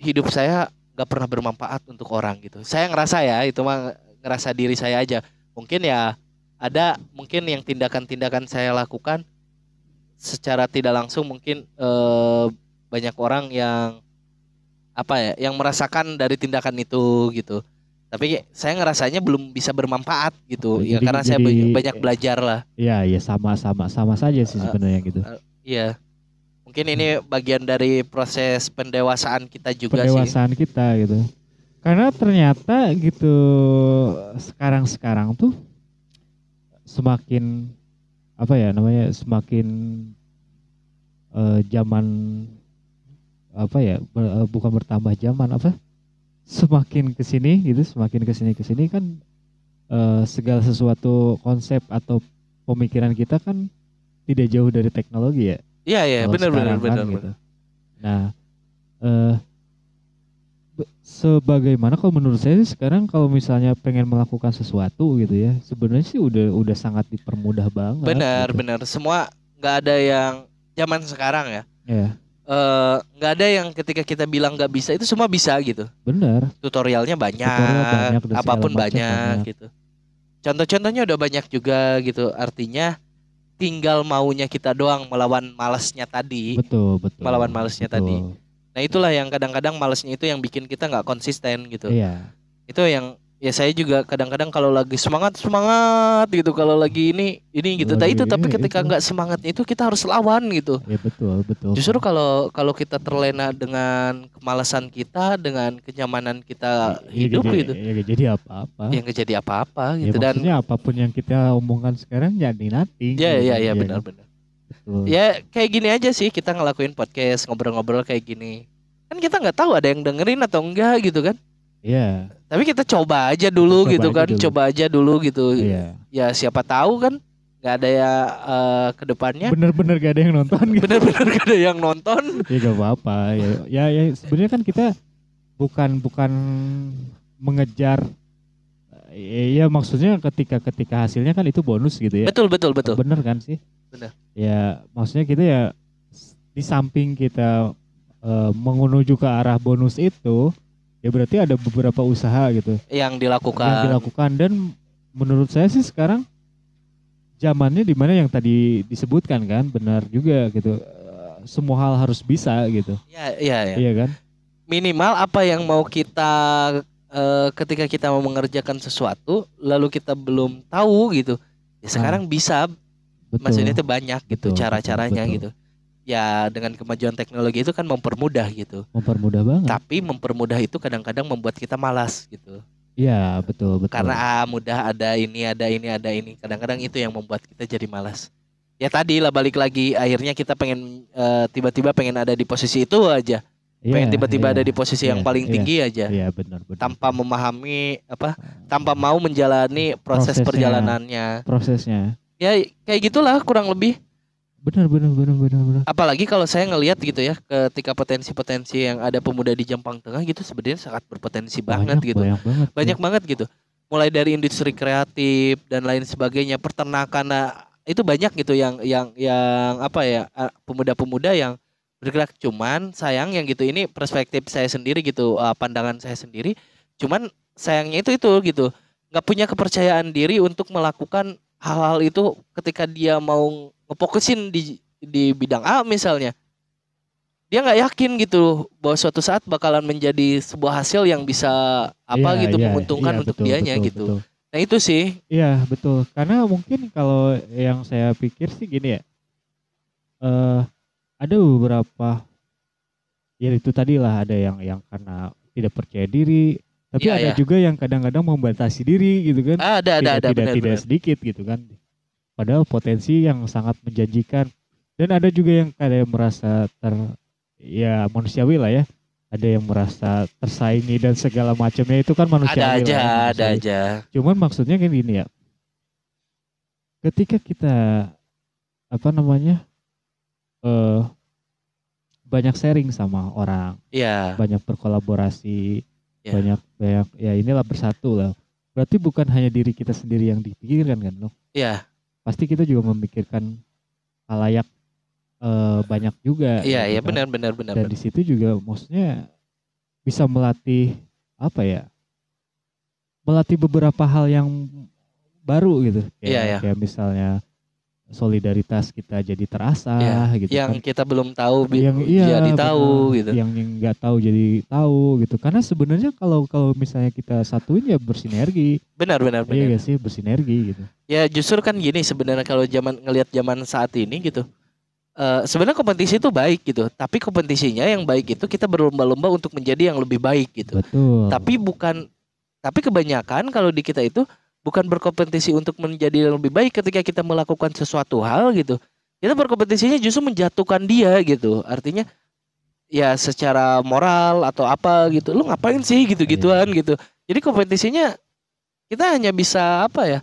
S2: hidup saya nggak pernah bermanfaat untuk orang gitu. Saya ngerasa ya itu mah ngerasa diri saya aja. Mungkin ya ada mungkin yang tindakan-tindakan saya lakukan secara tidak langsung mungkin eh, banyak orang yang apa ya yang merasakan dari tindakan itu gitu. Tapi saya ngerasanya belum bisa bermanfaat gitu.
S1: Oke, Oh,
S2: ya
S1: jadi-
S2: karena saya
S1: jadi-
S2: banyak- banyak belajar lah.
S1: Iya, ya sama-sama sama saja sih
S2: Eh,
S1: sebenarnya gitu.
S2: Iya. Mungkin
S1: Hmm.
S2: ini bagian dari proses pendewasaan kita juga sih.
S1: Pendewasaan kita gitu. Karena ternyata gitu sekarang-sekarang tuh semakin apa ya namanya semakin eh, zaman apa ya ber- eh, bukan bertambah zaman apa semakin kesini gitu semakin kesini kesini kan eh, segala sesuatu konsep atau pemikiran kita kan tidak jauh dari teknologi ya
S2: Iya, iya,
S1: kalau
S2: benar benar
S1: sekarang kan
S2: benar.
S1: gitu.
S2: benar.
S1: Nah, eh be- sebagaimana kalau menurut saya sih sekarang kalau misalnya pengen melakukan sesuatu gitu ya, sebenarnya sih udah udah sangat dipermudah banget.
S2: Benar,
S1: gitu.
S2: benar. Semua nggak ada yang zaman sekarang ya.
S1: Ya,
S2: Eh, nggak ada yang ketika kita bilang nggak bisa itu semua bisa gitu.
S1: benar.
S2: Tutorialnya banyak,
S1: Tutorial banyak dan
S2: apapun
S1: segala macam
S2: banyak,
S1: banyak.
S2: gitu. Contoh-contohnya udah banyak juga gitu. Artinya tinggal maunya kita doang melawan malasnya tadi.
S1: Betul, betul.
S2: Melawan malesnya
S1: Betul.
S2: tadi. Nah, itulah yang kadang-kadang malasnya itu yang bikin kita nggak konsisten gitu.
S1: Iya,
S2: itu yang ya saya juga kadang-kadang kalau lagi semangat semangat gitu kalau lagi ini ini gitu tapi
S1: Lagi
S2: itu tapi
S1: ini,
S2: ketika
S1: itu.
S2: nggak semangat itu kita harus lawan gitu
S1: ya betul betul
S2: justru kalau kalau kita terlena dengan kemalasan kita dengan kenyamanan kita
S1: Ya,
S2: hidup
S1: jadi-
S2: gitu
S1: ya, jadi apa-apa
S2: yang nggak jadi apa-apa
S1: ya,
S2: gitu dan
S1: maksudnya apapun yang kita omongkan sekarang jadi nanti
S2: ya ya ya
S1: kan?
S2: benar-benar
S1: Betul.
S2: ya kayak gini aja sih kita ngelakuin podcast ngobrol-ngobrol kayak gini kan kita nggak tahu ada yang dengerin atau enggak gitu kan
S1: Iya,
S2: tapi kita coba aja dulu
S1: Coba
S2: gitu
S1: aja
S2: kan
S1: dulu.
S2: coba aja dulu gitu
S1: iya.
S2: ya siapa tahu kan nggak ada ya eh, kedepannya
S1: Bener-bener gak ada yang nonton gitu.
S2: bener-bener gak ada yang nonton
S1: ya gak apa-apa. Ya, ya, ya sebenarnya kan kita bukan bukan mengejar ya, ya, maksudnya ketika ketika hasilnya kan itu bonus gitu ya.
S2: betul betul betul
S1: Bener kan sih?
S2: Bener.
S1: Ya, maksudnya kita ya s- di samping kita eh, menuju ke arah bonus itu, ya berarti ada beberapa usaha gitu
S2: yang dilakukan
S1: yang dilakukan dan menurut saya sih sekarang zamannya di mana yang tadi disebutkan kan benar juga gitu. Eh, Semua hal harus bisa gitu.
S2: ya ya, ya.
S1: Iya kan?
S2: minimal apa yang mau kita eh, ketika kita mau mengerjakan sesuatu lalu kita belum tahu gitu ya sekarang bisa
S1: Ah. Betul.
S2: maksudnya itu banyak gitu
S1: Betul,
S2: cara-caranya
S1: betul,
S2: gitu ya dengan kemajuan teknologi itu kan mempermudah gitu
S1: mempermudah banget.
S2: tapi mempermudah itu kadang-kadang membuat kita malas gitu
S1: Iya, betul, betul.
S2: karena ah, mudah ada ini ada ini ada ini kadang-kadang itu yang membuat kita jadi malas ya tadi lah balik lagi akhirnya kita pengen eh, tiba-tiba pengen ada di posisi itu aja
S1: Iya,
S2: pengen
S1: iya.
S2: tiba-tiba ada di posisi yang
S1: iya,
S2: paling
S1: iya.
S2: tinggi aja
S1: Iya, benar, benar.
S2: tanpa memahami apa tanpa mau menjalani proses
S1: Prosesnya.
S2: perjalanannya
S1: prosesnya.
S2: ya kayak gitulah kurang lebih
S1: Benar, benar, benar, benar, benar.
S2: apalagi kalau saya ngelihat gitu ya ketika potensi-potensi yang ada pemuda di Jampang Tengah gitu sebenarnya sangat berpotensi banget
S1: banyak,
S2: gitu
S1: Banyak banget.
S2: banyak banget gitu mulai dari industri kreatif dan lain sebagainya peternakan nah, itu banyak gitu yang yang yang apa ya eh, pemuda-pemuda yang bergerak cuman sayang yang gitu ini perspektif saya sendiri gitu eh, pandangan saya sendiri cuman sayangnya itu itu gitu nggak punya kepercayaan diri untuk melakukan hal-hal itu ketika dia mau ngefokusin di di bidang A misalnya dia nggak yakin gitu bahwa suatu saat bakalan menjadi sebuah hasil yang bisa apa
S1: Iya,
S2: gitu
S1: iya,
S2: menguntungkan
S1: iya,
S2: untuk
S1: betul,
S2: dianya
S1: betul,
S2: gitu
S1: betul.
S2: nah itu sih
S1: Iya, betul. Karena mungkin kalau yang saya pikir sih gini ya. Eh ada beberapa ya itu tadi lah ada yang yang karena tidak percaya diri, tapi
S2: Iya,
S1: ada
S2: iya.
S1: juga yang kadang-kadang membatasi diri gitu kan.
S2: ah, ada ada
S1: tidak
S2: ada
S1: tidak,
S2: benar
S1: tidak
S2: benar
S1: sedikit gitu kan padahal potensi yang sangat menjanjikan dan ada juga yang kayak merasa ter ya manusiawi lah ya ada yang merasa tersaingi dan segala macamnya itu kan
S2: ada
S1: manusiawi
S2: aja
S1: lah ya,
S2: ada
S1: manusiawi.
S2: aja
S1: cuman maksudnya kayak gini ya ketika kita apa namanya eh banyak sharing sama orang
S2: ya
S1: banyak berkolaborasi,
S2: Ya.
S1: banyak banyak ya inilah bersatu lah. Berarti bukan hanya diri kita sendiri yang dipikirkan kan loh.
S2: ya
S1: Pasti kita juga memikirkan halayak eh, banyak juga.
S2: ya
S1: gitu
S2: ya
S1: kan.
S2: benar benar benar
S1: Dan
S2: benar.
S1: di situ juga maksudnya bisa melatih apa ya? Melatih beberapa hal yang baru gitu. Kayak-
S2: Iya, iya.
S1: Kayak misalnya solidaritas kita jadi terasa gitu kan
S2: Iya, yang kita belum tahu bi-
S1: yang iya
S2: jadi tahu
S1: benar.
S2: gitu
S1: yang yang nggak tahu jadi tahu gitu karena sebenarnya kalau kalau misalnya kita satuin ya bersinergi
S2: benar
S1: iya
S2: benar benar
S1: gak sih bersinergi gitu
S2: Ya justru kan gini sebenarnya kalau zaman ngelihat zaman saat ini gitu. Eh sebenarnya kompetisi itu baik gitu, tapi kompetisinya yang baik itu kita berlomba-lomba untuk menjadi yang lebih baik gitu.
S1: betul
S2: Tapi bukan tapi kebanyakan kalau di kita itu bukan berkompetisi untuk menjadi yang lebih baik ketika kita melakukan sesuatu hal gitu. Kita berkompetisinya justru menjatuhkan dia gitu. Artinya ya secara moral atau apa gitu. Lu ngapain sih gitu-gituan gitu. Jadi kompetisinya kita hanya bisa apa ya?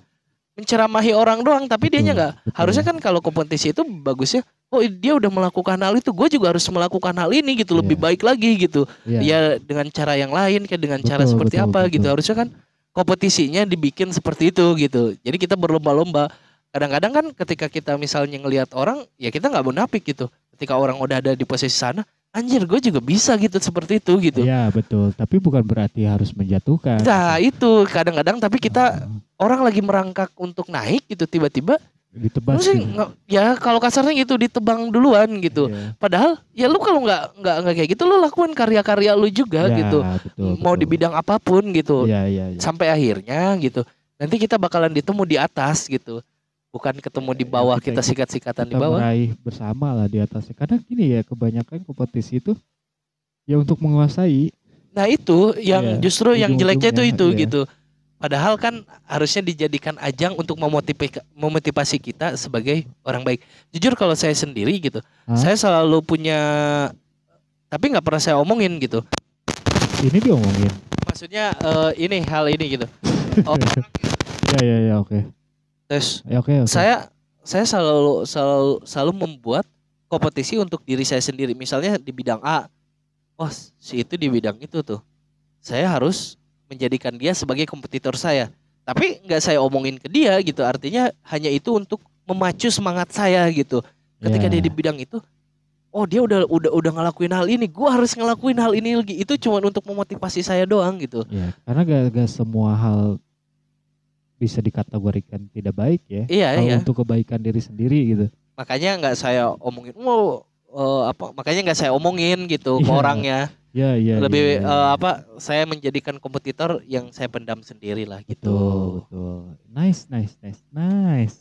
S2: menceramahi orang doang tapi
S1: Hmm.
S2: dianya nggak harusnya kan kalau kompetisi itu bagusnya oh dia udah melakukan hal itu gue juga harus melakukan hal ini gitu lebih
S1: Iya.
S2: baik lagi gitu ya dengan cara yang lain kayak dengan cara
S1: Betul,
S2: seperti
S1: betul,
S2: apa gitu
S1: betul.
S2: harusnya kan kompetisinya dibikin seperti itu gitu jadi kita berlomba-lomba kadang-kadang kan ketika kita misalnya ngelihat orang ya kita nggak munafik gitu ketika orang udah ada di posisi sana anjir gue juga bisa gitu seperti itu gitu
S1: Iya, betul tapi bukan berarti harus menjatuhkan Oh,
S2: nah itu kadang-kadang tapi kita orang lagi merangkak untuk naik gitu tiba-tiba
S1: ditebas
S2: Lu sih
S1: gitu.
S2: nggak- ya kalau kasarnya gitu ditebang duluan gitu.
S1: Iya.
S2: Padahal ya lu kalau nggak nggak nggak kayak gitu lu lakukan karya-karya lu juga
S1: Ya,
S2: gitu.
S1: betul,
S2: Mau di
S1: betul.
S2: bidang apapun gitu.
S1: Iya, iya, iya.
S2: Sampai akhirnya gitu. Nanti kita bakalan ditemu di atas gitu. Bukan ketemu di
S1: Ya,
S2: bawah
S1: kita-
S2: kita sikat-sikatan di
S1: kita
S2: bawah.
S1: meraih bersama lah di atasnya. Karena gini ya kebanyakan kompetisi itu ya untuk menguasai.
S2: Nah itu
S1: Iya,
S2: yang justru yang jeleknya itu
S1: ujung-ujungnya,
S2: itu
S1: iya.
S2: gitu. Padahal kan harusnya dijadikan ajang untuk memotipi- memotivasi kita sebagai orang baik. Jujur kalau saya sendiri gitu,
S1: Hah?
S2: saya selalu punya tapi nggak pernah saya omongin gitu.
S1: Ini diomongin.
S2: Maksudnya eh, ini hal ini gitu. Oh,
S1: Iya, iya, iya, oke.
S2: terus
S1: Ya, oke, oke.
S2: saya saya selalu selalu selalu membuat kompetisi untuk diri saya sendiri. Misalnya di bidang A, wah si itu di bidang itu tuh, saya harus menjadikan dia sebagai kompetitor saya. Tapi nggak saya omongin ke dia gitu. Artinya hanya itu untuk memacu semangat saya gitu. Ketika
S1: Iya.
S2: dia di bidang itu, oh dia udah udah udah ngelakuin hal ini, gua harus ngelakuin hal ini lagi. Itu cuma untuk memotivasi saya doang gitu.
S1: Ya, karena gak, gak semua hal bisa dikategorikan tidak baik ya.
S2: Iya
S1: Kalau
S2: iya.
S1: untuk kebaikan diri sendiri gitu.
S2: makanya nggak saya omongin wow eh, apa makanya nggak saya omongin gitu ke
S1: Iya,
S2: orangnya
S1: Iya, iya. iya,
S2: lebih
S1: iya.
S2: eh, apa saya menjadikan kompetitor yang saya pendam sendiri lah gitu
S1: Betul, betul. Nice, nice, nice, nice.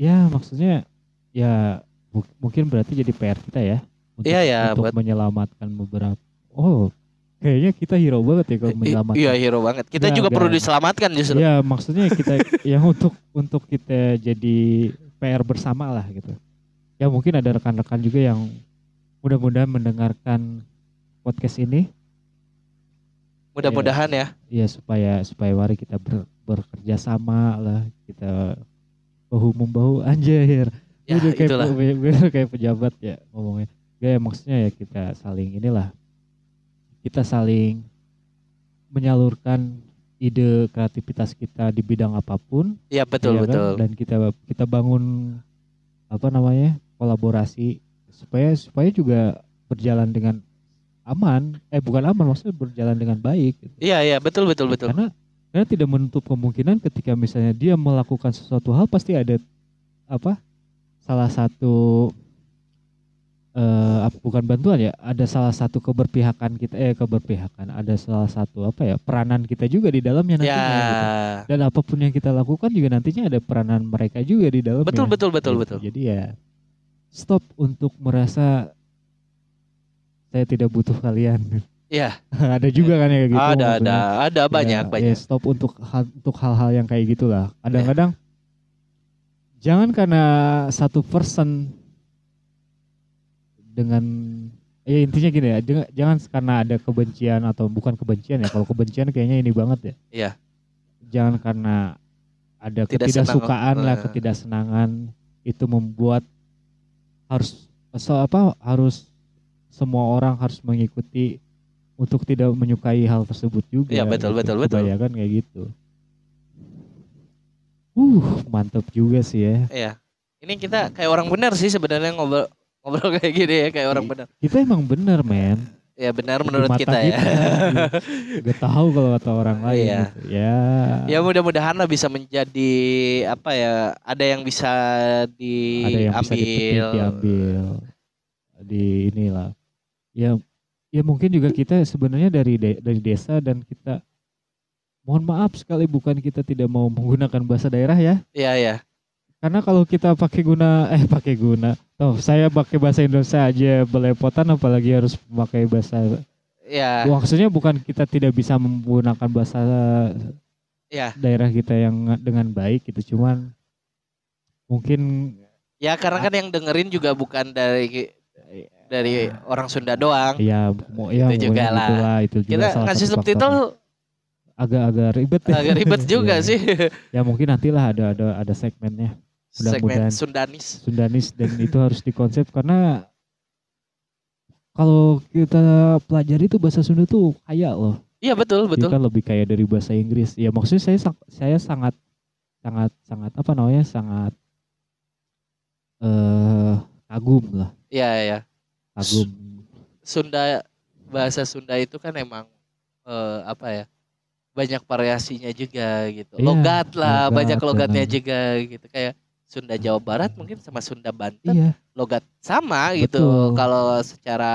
S1: Ya, maksudnya ya mu- mungkin berarti jadi PR kita ya. Untuk,
S2: Iya, ya,
S1: untuk
S2: buat-
S1: menyelamatkan beberapa. Oh, kayaknya kita hero banget ya kalau
S2: I-
S1: menyelamatkan. iya.
S2: iya hero banget kita
S1: Nggak,
S2: juga perlu
S1: nggak.
S2: diselamatkan justru
S1: Ya, maksudnya kita yang untuk untuk kita jadi PR bersama lah gitu. Ya mungkin ada rekan-rekan juga yang mudah-mudahan mendengarkan podcast ini iya.
S2: mudah-mudahan ya
S1: ya supaya supaya mari kita ber- bekerja sama lah kita bahu membahu anjir. Gue
S2: ya
S1: udah kayak,
S2: itulah
S1: pe- gue udah kayak pejabat ya ngomongnya. Ya, ya, maksudnya ya kita saling inilah kita saling menyalurkan ide kreativitas kita di bidang apapun
S2: ya
S1: Iya
S2: betul
S1: kan?
S2: betul
S1: Dan kita kita bangun apa namanya kolaborasi supaya supaya juga berjalan dengan aman. Eh bukan aman maksudnya berjalan dengan baik. gitu.
S2: iya iya betul betul betul
S1: Karena karena tidak menutup kemungkinan ketika misalnya dia melakukan sesuatu hal pasti ada apa salah satu eh ap- bukan bantuan ya ada salah satu keberpihakan kita eh keberpihakan ada salah satu apa ya peranan kita juga di dalamnya nantinya
S2: ya
S1: gitu dan apapun yang kita lakukan juga nantinya ada peranan mereka juga di dalamnya.
S2: betul betul betul
S1: Gitu.
S2: betul
S1: Jadi ya stop untuk merasa saya tidak butuh kalian.
S2: Iya.
S1: ada juga kan ya kayak gitu.
S2: ada ada
S1: maksudnya.
S2: ada
S1: Ya,
S2: banyak
S1: ya,
S2: banyak
S1: stop untuk hal- untuk hal-hal yang kayak gitulah. Kadang-kadang
S2: Iya.
S1: jangan karena satu person dengan ya intinya gini ya, jangan- jangan karena ada kebencian atau bukan kebencian ya. Kalau kebencian kayaknya ini banget ya.
S2: Iya.
S1: Jangan karena ada
S2: Tidak senang-
S1: ketidaksukaan lah,
S2: eh.
S1: ketidaksenangan itu membuat harus so, apa harus semua orang harus mengikuti untuk tidak menyukai hal tersebut juga.
S2: Iya, betul, betul, betul.
S1: Ya kan kayak gitu. Uh, mantap juga sih ya.
S2: Iya. ini kita kayak orang benar sih sebenarnya ngobrol ngobrol kayak gini ya kayak orang benar
S1: Kita emang bener men.
S2: ya benar
S1: Iya. Di
S2: menurut
S1: mata
S2: kita ya
S1: Gak tahu kalau kata orang lain.
S2: Iya.
S1: gitu. Ya.
S2: Ya mudah-mudahan lah bisa menjadi apa ya ada yang bisa diambil.
S1: Ada yang bisa dipetik, diambil. Di inilah. Ya, ya mungkin juga kita sebenarnya dari de- dari desa dan kita mohon maaf sekali bukan kita tidak mau menggunakan bahasa daerah ya.
S2: Iya ya.
S1: Karena kalau kita pakai guna eh pakai guna. Tuh, saya pakai bahasa Indonesia aja belepotan apalagi harus pakai bahasa
S2: Ya.
S1: maksudnya bukan kita tidak bisa menggunakan bahasa
S2: Ya.
S1: daerah kita yang dengan baik gitu cuman mungkin
S2: Ya karena kan yang dengerin juga bukan dari dari
S1: Iya.
S2: orang Sunda doang.
S1: ya mau ya
S2: Itu juga
S1: pokoknya
S2: lah.
S1: gitulah, itu juga
S2: Kita
S1: salah
S2: ngasih
S1: satu faktornya.
S2: subtitle
S1: agak-agak ribet ya.
S2: agak ribet juga
S1: Iya.
S2: sih.
S1: ya mungkin nantilah ada ada ada segmennya
S2: Segmen
S1: Mudah-mudahan.
S2: Sundanis.
S1: Sundanis dan itu harus dikonsep karena kalau kita pelajari tuh bahasa Sunda tuh kaya loh
S2: Iya betul
S1: Dia
S2: betul.
S1: kan lebih kaya dari bahasa Inggris. Ya maksudnya saya sang- saya sangat sangat sangat apa namanya sangat eh kagum lah,
S2: Iya ya.
S1: kagum.
S2: Sunda bahasa Sunda itu kan emang eh, apa ya? banyak variasinya juga gitu.
S1: Iya,
S2: logat lah,
S1: logat
S2: banyak logatnya
S1: benar.
S2: juga gitu kayak Sunda Jawa Barat mungkin sama Sunda Banten
S1: Iya.
S2: logat sama gitu
S1: Betul.
S2: kalau secara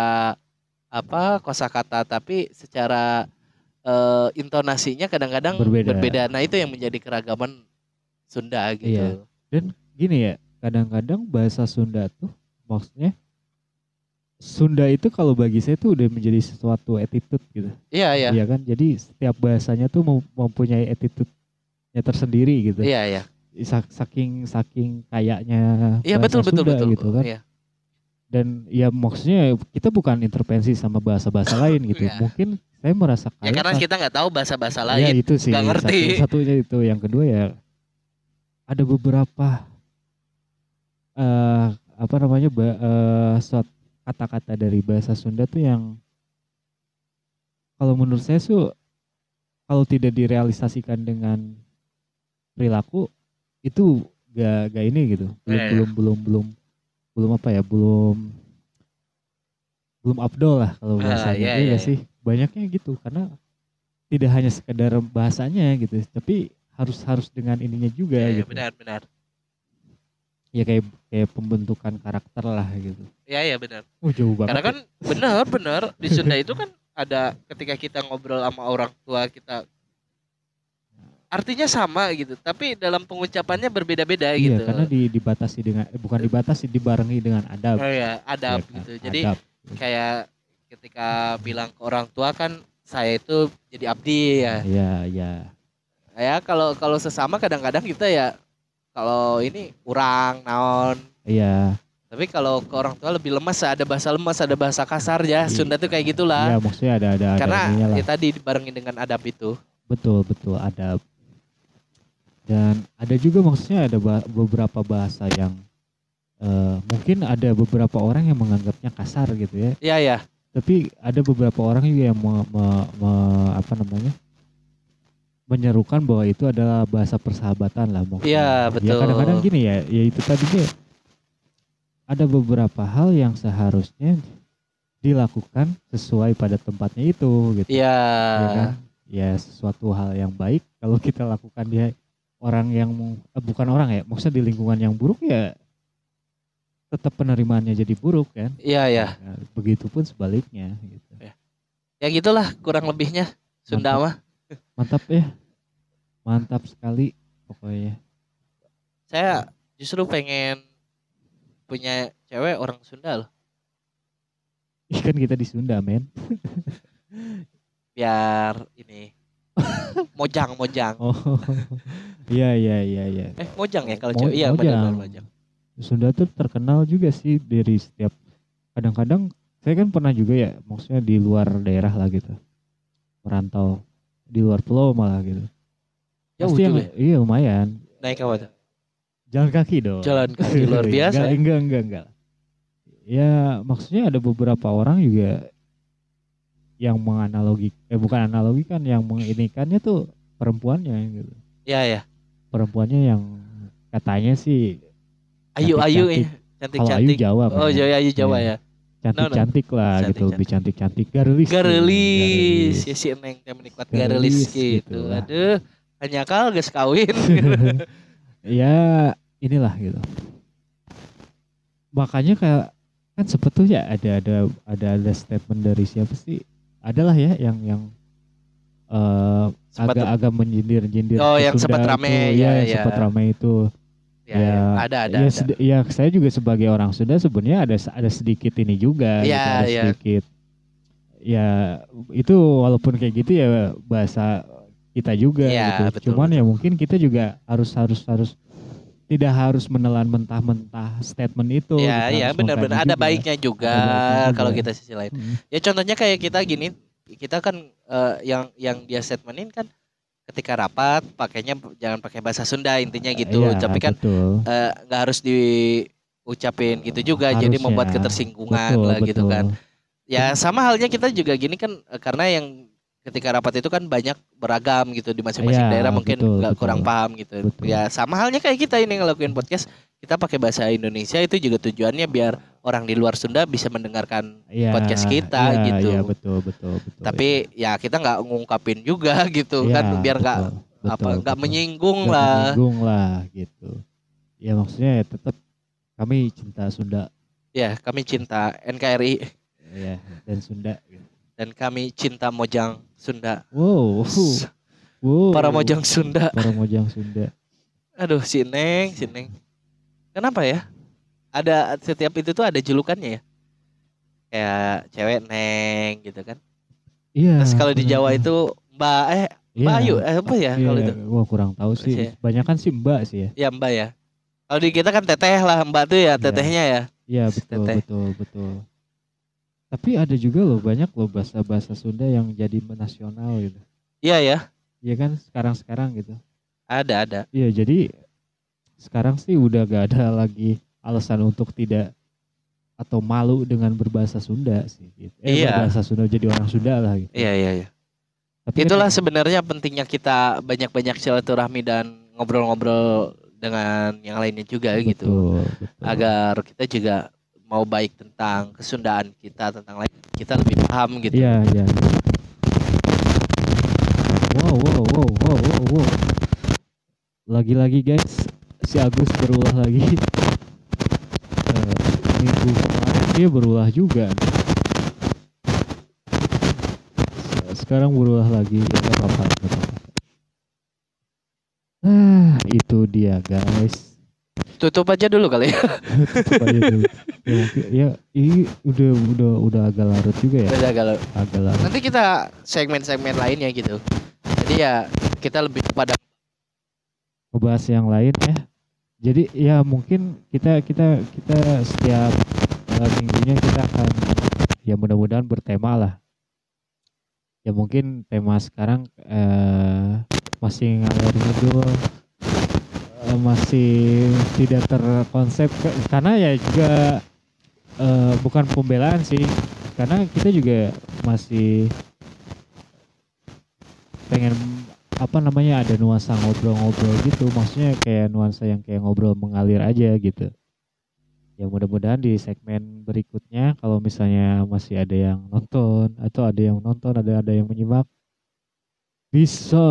S2: apa kosakata tapi secara eh, intonasinya kadang-kadang
S1: Berbeda.
S2: berbeda. Nah itu yang menjadi keragaman Sunda gitu.
S1: Gini ya, kadang-kadang bahasa Sunda tuh maksudnya Sunda itu kalau bagi saya tuh udah menjadi sesuatu attitude gitu.
S2: Iya iya
S1: Iya kan? Jadi setiap bahasanya tuh mem- mempunyai attitude-nya tersendiri gitu.
S2: iya iya
S1: Sak- Saking saking kayaknya
S2: iya
S1: bahasa
S2: betul betul
S1: Sunda
S2: betul.
S1: gitu kan.
S2: Iya.
S1: Dan ya maksudnya kita bukan intervensi sama bahasa-bahasa lain gitu.
S2: Iya.
S1: Mungkin saya merasa
S2: Ya
S1: kaya
S2: karena
S1: pas-
S2: kita nggak tahu bahasa-bahasa
S1: Ya
S2: lain.
S1: itu sih.
S2: nggak ngerti.
S1: Satu, satunya itu. Yang kedua ya ada beberapa eh apa namanya ba- eh, suat- kata-kata dari bahasa Sunda tuh yang kalau menurut saya tuh kalau tidak direalisasikan dengan perilaku itu gak gak ini gitu. Belum
S2: Iya, iya.
S1: belum belum belum belum apa ya? Belum belum abdol lah kalau
S2: Ah,
S1: bahasanya.
S2: iya,
S1: Iya
S2: iya,
S1: nggak
S2: iya.
S1: sih? Banyaknya gitu karena tidak hanya sekedar bahasanya gitu, tapi harus harus dengan ininya juga
S2: Iya, iya,
S1: gitu.
S2: benar benar.
S1: Ya kayak kayak pembentukan karakter lah gitu.
S2: Iya iya benar.
S1: Oh jauh banget.
S2: Karena
S1: ya.
S2: kan benar benar di Sunda itu kan ada ketika kita ngobrol sama orang tua kita artinya sama gitu, tapi dalam pengucapannya berbeda-beda
S1: iya,
S2: gitu.
S1: karena di, dibatasi dengan eh, bukan dibatasi dibarengi dengan adab.
S2: Oh ya, adab
S1: Ya,
S2: gitu. Jadi
S1: adab.
S2: kayak ketika bilang ke orang tua kan saya itu jadi abdi ya.
S1: ya ya.
S2: Ya kalau kalau sesama kadang-kadang kita ya kalau ini kurang naon.
S1: Iya,
S2: Tapi kalau ke orang tua lebih lemas, ada bahasa lemas, ada bahasa kasar ya.
S1: Iya.
S2: Sunda tuh kayak gitulah.
S1: iya maksudnya ada ada ada ininya
S2: Karena
S1: lah.
S2: ya tadi dibarengin dengan adab itu.
S1: Betul, betul ada dan ada juga maksudnya ada ba- beberapa bahasa yang eh, mungkin ada beberapa orang yang menganggapnya kasar gitu ya.
S2: Iya ya.
S1: Tapi ada beberapa orang juga yang me- me- me- apa namanya? menyerukan bahwa itu adalah bahasa persahabatan lah mungkin.
S2: Iya,
S1: Ya
S2: betul.
S1: kadang-kadang gini ya, ya itu tadi deh. Ada beberapa hal yang seharusnya dilakukan sesuai pada tempatnya itu gitu
S2: Iya.
S1: ya kan? Ya sesuatu hal yang baik kalau kita lakukan dia orang yang eh, bukan orang ya, maksudnya di lingkungan yang buruk ya tetap penerimaannya jadi buruk kan.
S2: Iya ya.
S1: Nah, Begitupun sebaliknya gitu.
S2: Ya gitulah kurang lebihnya Sunda mah.
S1: Mantap ya. Mantap sekali pokoknya.
S2: Saya justru pengen punya cewek orang Sunda loh.
S1: Ih, kan kita di Sunda, men.
S2: Biar ini mojang mojang.
S1: Oh. Iya, iya, iya, iya.
S2: Eh mojang ya kalau
S1: Mo-
S2: cewek. Iya
S1: Mojang.
S2: benar mojang.
S1: Sunda tuh terkenal juga sih dari setiap kadang-kadang saya kan pernah juga ya maksudnya di luar daerah lah gitu merantau di luar pulau malah gitu
S2: Jauh
S1: pasti yang,
S2: juga. ya?
S1: iya lumayan
S2: Naik apa tuh?
S1: jalan kaki dong
S2: Jalan kaki luar
S1: Enggak,
S2: biasa. ya.
S1: enggak enggak enggak ya maksudnya ada beberapa orang juga yang menganalogi eh bukan analogi kan yang menginikannya tuh perempuannya gitu
S2: Iya ya.
S1: perempuannya yang katanya sih
S2: Ayu ayu ya. Cantik
S1: kalau Ayu
S2: cantik.
S1: Jawa
S2: Oh
S1: kan.
S2: Jawa ayu Jawa
S1: Iya.
S2: ya.
S1: cantik-cantik lah
S2: Cantik-cantik.
S1: gitu lebih cantik-cantik gitu, garelis tuh,
S2: Garelis. Ya si Neng yang menikmat garelis
S1: Garelis
S2: gitu.
S1: gitu lah.
S2: Aduh. Hanya kal gas kawin.
S1: garelis. ya inilah gitu makanya kayak kan sebetulnya ada ada ada ada statement dari siapa sih adalah ya yang yang eh,
S2: Sempat-
S1: agak-agag menyindir-nyindir
S2: Oh,
S1: ke
S2: yang
S1: Sunda
S2: sempat rame,
S1: itu,
S2: ya,
S1: ya,
S2: ya.
S1: yang sempat rame itu
S2: Ya, ya. Ada ada.
S1: ya,
S2: ada.
S1: sedi- ya, saya juga sebagai orang Sunda sebenarnya ada ada sedikit ini juga
S2: Iya,
S1: gitu, ada
S2: iya.
S1: sedikit ya itu walaupun kayak gitu ya bahasa kita juga
S2: Iya,
S1: gitu.
S2: betul,
S1: cuman ya mungkin kita juga harus harus harus tidak harus menelan mentah-mentah statement itu
S2: Ya,
S1: gitu,
S2: ya
S1: harus
S2: benar-benar
S1: mengkaji
S2: ada
S1: juga.
S2: baiknya juga
S1: Ada baiknya juga.
S2: kalau kita sisi lain.
S1: Mm.
S2: Ya contohnya kayak kita gini, kita kan eh, yang yang dia statementin kan ketika rapat pakainya jangan pakai bahasa Sunda intinya gitu.
S1: Iya,
S2: Tapi kan
S1: betul.
S2: eh, nggak harus diucapin gitu juga jadi
S1: Harusnya.
S2: membuat ketersinggungan
S1: Betul,
S2: lah gitu
S1: betul.
S2: kan. Ya sama halnya kita juga gini kan eh, karena yang ketika rapat itu kan banyak beragam gitu di masing-masing
S1: Iya,
S2: daerah mungkin
S1: betul,
S2: nggak
S1: betul.
S2: kurang paham gitu.
S1: Betul.
S2: Ya sama halnya kayak kita ini ngelakuin podcast kita pakai bahasa Indonesia itu juga tujuannya biar orang di luar Sunda bisa mendengarkan.
S1: Iya,
S2: podcast kita
S1: iya,
S2: gitu.
S1: iya, betul betul betul
S2: Tapi ya kita nggak ngungkapin juga gitu
S1: Iya,
S2: kan biar nggak
S1: betul,
S2: apa
S1: betul,
S2: nggak
S1: betul.
S2: menyinggung
S1: Nggak
S2: lah.
S1: menyinggung lah gitu ya maksudnya ya tetap kami cinta Sunda
S2: Ya, kami cinta NKRI
S1: ya dan Sunda. gitu.
S2: dan kami cinta Mojang Sunda.
S1: Wow, wow.
S2: Para Mojang Sunda.
S1: Para Mojang Sunda.
S2: Aduh, si Neng, si Neng. Kenapa ya? Ada setiap itu tuh ada julukannya ya. Kayak cewek Neng gitu kan.
S1: Iya.
S2: Terus kalau di
S1: benar.
S2: Jawa itu Mbak eh
S1: Iya.
S2: Mbak Ayu eh, apa ya
S1: Iya,
S2: kalau itu?
S1: Gua kurang tahu sih.
S2: Iya.
S1: Banyak kan sih Mbak sih ya.
S2: Ya Mbak ya. Kalau di kita kan teteh lah Mbak tuh ya tetehnya ya.
S1: Iya betul
S2: Teteh.
S1: betul betul. Tapi ada juga loh banyak loh bahasa-bahasa Sunda yang jadi nasional gitu.
S2: Iya ya.
S1: Iya kan sekarang-sekarang gitu.
S2: Ada ada.
S1: Iya jadi sekarang sih udah gak ada lagi alasan untuk tidak atau malu dengan berbahasa Sunda sih. Gitu. Eh,
S2: Iya.
S1: Berbahasa Sunda jadi orang Sunda lah. Gitu.
S2: Iya iya iya.
S1: Tapi kan
S2: Itulah sebenarnya pentingnya kita banyak-banyak silaturahmi dan ngobrol-ngobrol dengan yang lainnya juga gitu.
S1: Betul, betul.
S2: agar kita juga mau baik tentang kesundaan kita tentang lain kita lebih paham gitu.
S1: Iya, iya. Wow, wow, wow, wow, wow, wow. Lagi-lagi guys, si Agus berulah lagi. Eh, minggu kemarin dia berulah juga. Se- Eh, Sekarang berulah lagi, ya nggak apa-apa. nggak apa-apa. Ah, itu dia guys.
S2: Tutup aja dulu kali ya.
S1: Coba aja dulu. ya, mungkin- ya, ini udah udah udah agak larut juga ya,
S2: Udah kalau
S1: agak larut.
S2: nanti kita segmen-segmen lainnya gitu. Jadi ya kita lebih kepada
S1: ngebahas yang lain ya. Jadi ya mungkin kita kita kita setiap eh, minggunya kita akan ya mudah-mudahan bertema lah. Ya mungkin tema sekarang eh, masih ngalir ngidul eh, masih tidak terkonsep ke- karena ya juga eh, bukan pembelaan sih karena kita juga masih pengen apa namanya ada nuansa ngobrol-ngobrol gitu maksudnya kayak nuansa yang kayak ngobrol mengalir aja gitu ya mudah-mudahan di segmen berikutnya kalau misalnya masih ada yang nonton atau ada yang nonton ada ada yang menyimak bisa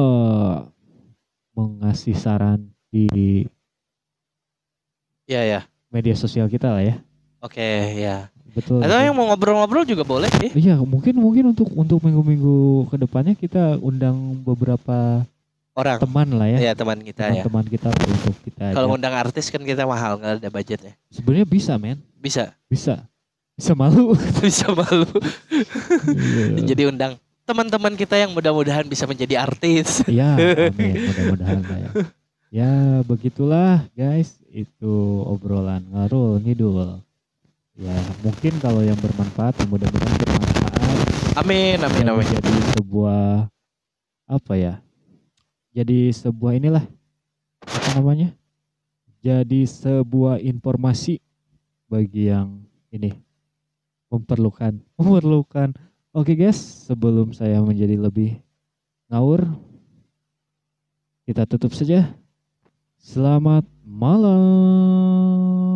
S1: mengasih saran di
S2: ya ya.
S1: media sosial kita lah ya
S2: Oke ya.
S1: betul
S2: Atau
S1: betul.
S2: yang mau ngobrol-ngobrol juga boleh sih.
S1: iya mungkin mungkin untuk untuk minggu-minggu kedepannya kita undang beberapa
S2: Iya. Orang
S1: teman lah ya
S2: ya teman kita ya.
S1: teman-teman kita untuk kita
S2: Kalau
S1: ajak.
S2: ngundang artis kan kita mahal nggak ada budgetnya.
S1: sebenarnya bisa men
S2: Bisa
S1: bisa bisa malu
S2: bisa malu.
S1: Iya.
S2: Jadi undang teman-teman kita yang mudah-mudahan bisa menjadi artis.
S1: ya amin mudah-mudahan lah ya ya begitulah guys itu obrolan ngarul ngidul ya mungkin kalau yang bermanfaat ya mudah-mudahan bermanfaat
S2: Amin amin
S1: yang
S2: amin.
S1: menjadi sebuah apa ya jadi sebuah inilah apa namanya jadi sebuah informasi bagi yang ini memperlukan memerlukan oke guys sebelum saya menjadi lebih ngawur kita tutup saja selamat malam